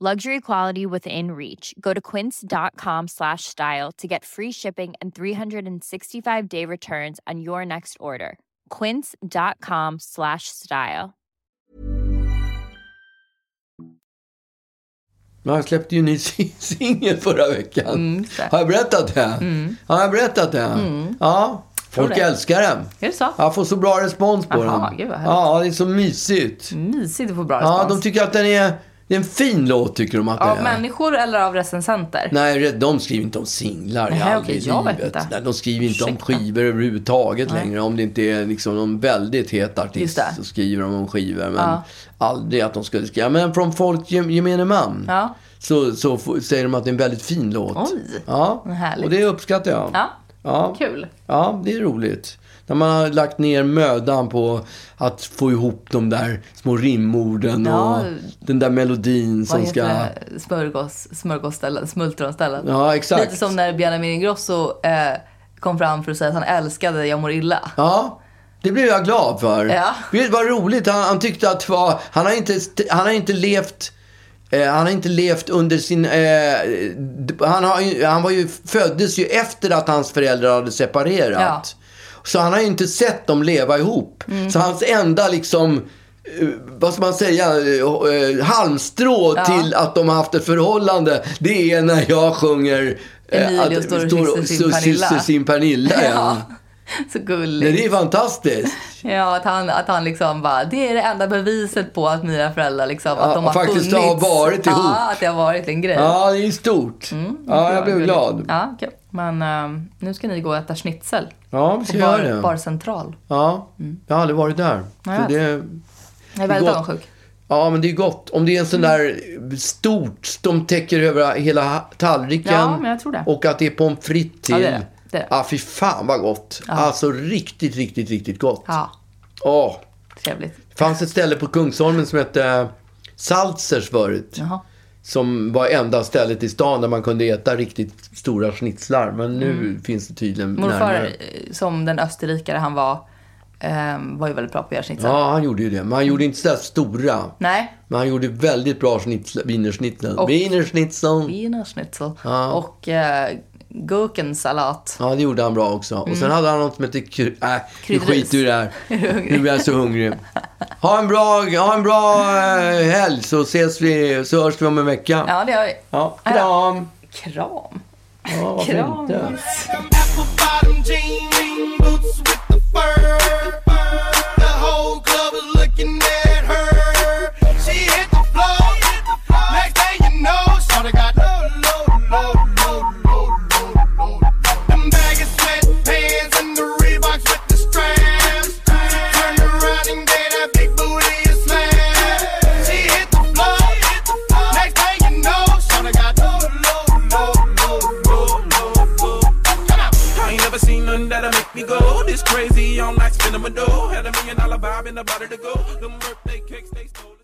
Speaker 5: Luxury quality within reach. Go to quince.com slash style to get free shipping and 365 day returns on your next order. Quince.com slash style.
Speaker 1: Men han släppte ju en ny si- singel förra veckan.
Speaker 2: Mm,
Speaker 1: har jag berättat det? Har jag berättat det? Ja, folk
Speaker 2: det.
Speaker 1: älskar den.
Speaker 2: Är det så?
Speaker 1: Jag får så bra respons på
Speaker 2: Aha,
Speaker 1: den.
Speaker 2: gud vad härligt.
Speaker 1: ja, det är så mysigt.
Speaker 2: Mysigt att få bra
Speaker 1: Ja,
Speaker 2: respons.
Speaker 1: de tycker att den är... Det är en fin låt, tycker de att det
Speaker 2: av
Speaker 1: är.
Speaker 2: människor eller av recensenter?
Speaker 1: Nej, de skriver inte om singlar i
Speaker 2: Nej,
Speaker 1: aldrig i
Speaker 2: okej, jag vet
Speaker 1: livet.
Speaker 2: inte.
Speaker 1: Nej, de skriver inte om
Speaker 2: Ursäkta.
Speaker 1: skivor överhuvudtaget längre. Om det inte är liksom någon väldigt het
Speaker 2: Just
Speaker 1: artist
Speaker 2: det.
Speaker 1: så skriver de om skivor. Men
Speaker 2: Ja.
Speaker 1: aldrig att de skulle skriva. Men från folk, gem- gemene man,
Speaker 2: Ja.
Speaker 1: så, så f- säger de att det är en väldigt fin låt.
Speaker 2: Oj,
Speaker 1: ja.
Speaker 2: vad härligt.
Speaker 1: Och det uppskattar jag.
Speaker 2: Ja.
Speaker 1: Ja.
Speaker 2: Kul.
Speaker 1: Ja, det är roligt. När man har lagt ner mödan på att få ihop de där små rimorden
Speaker 2: Ja.
Speaker 1: och den där melodin
Speaker 2: Vad
Speaker 1: som
Speaker 2: heter
Speaker 1: ska...
Speaker 2: det? Smörgås, smörgåsställen, smultronställen.
Speaker 1: Ja, exakt.
Speaker 2: Lite som när Benjamin Ingrosso eh, kom fram för att säga att han älskade Jag mår illa.
Speaker 1: Ja, det blev jag glad för.
Speaker 2: Ja.
Speaker 1: Vet du vad roligt? Han, han tyckte att det var, han, har inte, han har inte levt eh, han har inte levt under sin... Eh, d- han, har, ju- han var ju, föddes ju efter att hans föräldrar hade separerat. Så han har ju inte sett dem leva ihop.
Speaker 2: Mm.
Speaker 1: Så hans enda liksom, eh, vad ska man säga, eh, eh, halmstrå till att de har haft ett förhållande. Det är när jag sjunger... eh,
Speaker 2: Emilio står och kysser sin
Speaker 1: så-
Speaker 2: Pernilla.
Speaker 1: kysser sin Pernilla. Ja.
Speaker 2: Så
Speaker 1: Nej,
Speaker 2: gulligt.
Speaker 1: det är fantastiskt. Typ.
Speaker 2: Ja, att han, att han liksom bara, det är det enda beviset på att mina föräldrar liksom, att de har
Speaker 1: faktiskt
Speaker 2: funnits.
Speaker 1: har varit ihop.
Speaker 2: Ja, att det har varit en grej.
Speaker 1: Ja, det är stort.
Speaker 2: Mm,
Speaker 1: ja, jag blev
Speaker 2: Gulligt.
Speaker 1: glad.
Speaker 2: Ja, okej. Men ehm, nu ska ni gå och äta schnitzel.
Speaker 1: Ja, vi
Speaker 2: På
Speaker 1: ska göra
Speaker 2: bar,
Speaker 1: det.
Speaker 2: barcentral.
Speaker 1: Ja, jag har aldrig varit där.
Speaker 2: Mm. Nej,
Speaker 1: Så det,
Speaker 2: jag Jag är väldigt
Speaker 1: Gott.
Speaker 2: avundsjuk.
Speaker 1: ja, men det är gott. Om det är en sån där
Speaker 2: Mm.
Speaker 1: stort, de täcker över hela ha- tallriken.
Speaker 2: Ja, men jag tror det.
Speaker 1: Och att det är pommes frites till.
Speaker 2: Ja, det är det. Det är det.
Speaker 1: Ah, fy fan vad gott. Alltså riktigt, riktigt, riktigt gott.
Speaker 2: Ja,
Speaker 1: Åh.
Speaker 2: trevligt.
Speaker 1: Det fanns ett ställe på Kungsholmen som hette Salzers förut.
Speaker 2: Jaha.
Speaker 1: Som var enda stället i stan där man kunde äta riktigt stora schnitzlar. Men nu finns det tydligen
Speaker 2: Mm. Morfar,
Speaker 1: närmare.
Speaker 2: eh, som den österrikare han var, ehm, var ju väldigt bra på att göra schnitzel.
Speaker 1: Ja, han gjorde ju det. Men han gjorde inte sådär stora.
Speaker 2: Nej,
Speaker 1: Men han gjorde väldigt bra schnitzl- wienerschnitzel.
Speaker 2: Och-
Speaker 1: Wienerschnitzel.
Speaker 2: wienerschnitzel. Och eh, gurkensalat.
Speaker 1: Ja, det gjorde han bra också. Och sen hade han något som hette... Kry- äh, nu
Speaker 2: Mm. Kryddris.
Speaker 1: skiter vi i det här.
Speaker 2: hungrig?
Speaker 1: Nu är jag så hungrig. Ha en bra, ha en bra eh, helg så ses vi, så hörs vi om en vecka.
Speaker 2: Ja, det har vi.
Speaker 1: Ja, kram.
Speaker 2: Kram.
Speaker 1: Ja, varför
Speaker 2: Kram.
Speaker 1: inte?
Speaker 6: Apple bottom jean ring boots with the fur. The whole club is looking at her. She hit the floor. Next day you know, shawty got low, low, low, low, low, low, low. Them baggy sweatpants and the Reeboks with the straps. Turn around and get that big booty a slap. She hit the floor. Next day you know, shawty got low, low, low, low, low, low, low. I ain't never seen nothing that'll make me go this crazy. I'm like spinning my dough. Had a million dollar vibe in the body to go. Them birthday cakes, they stole.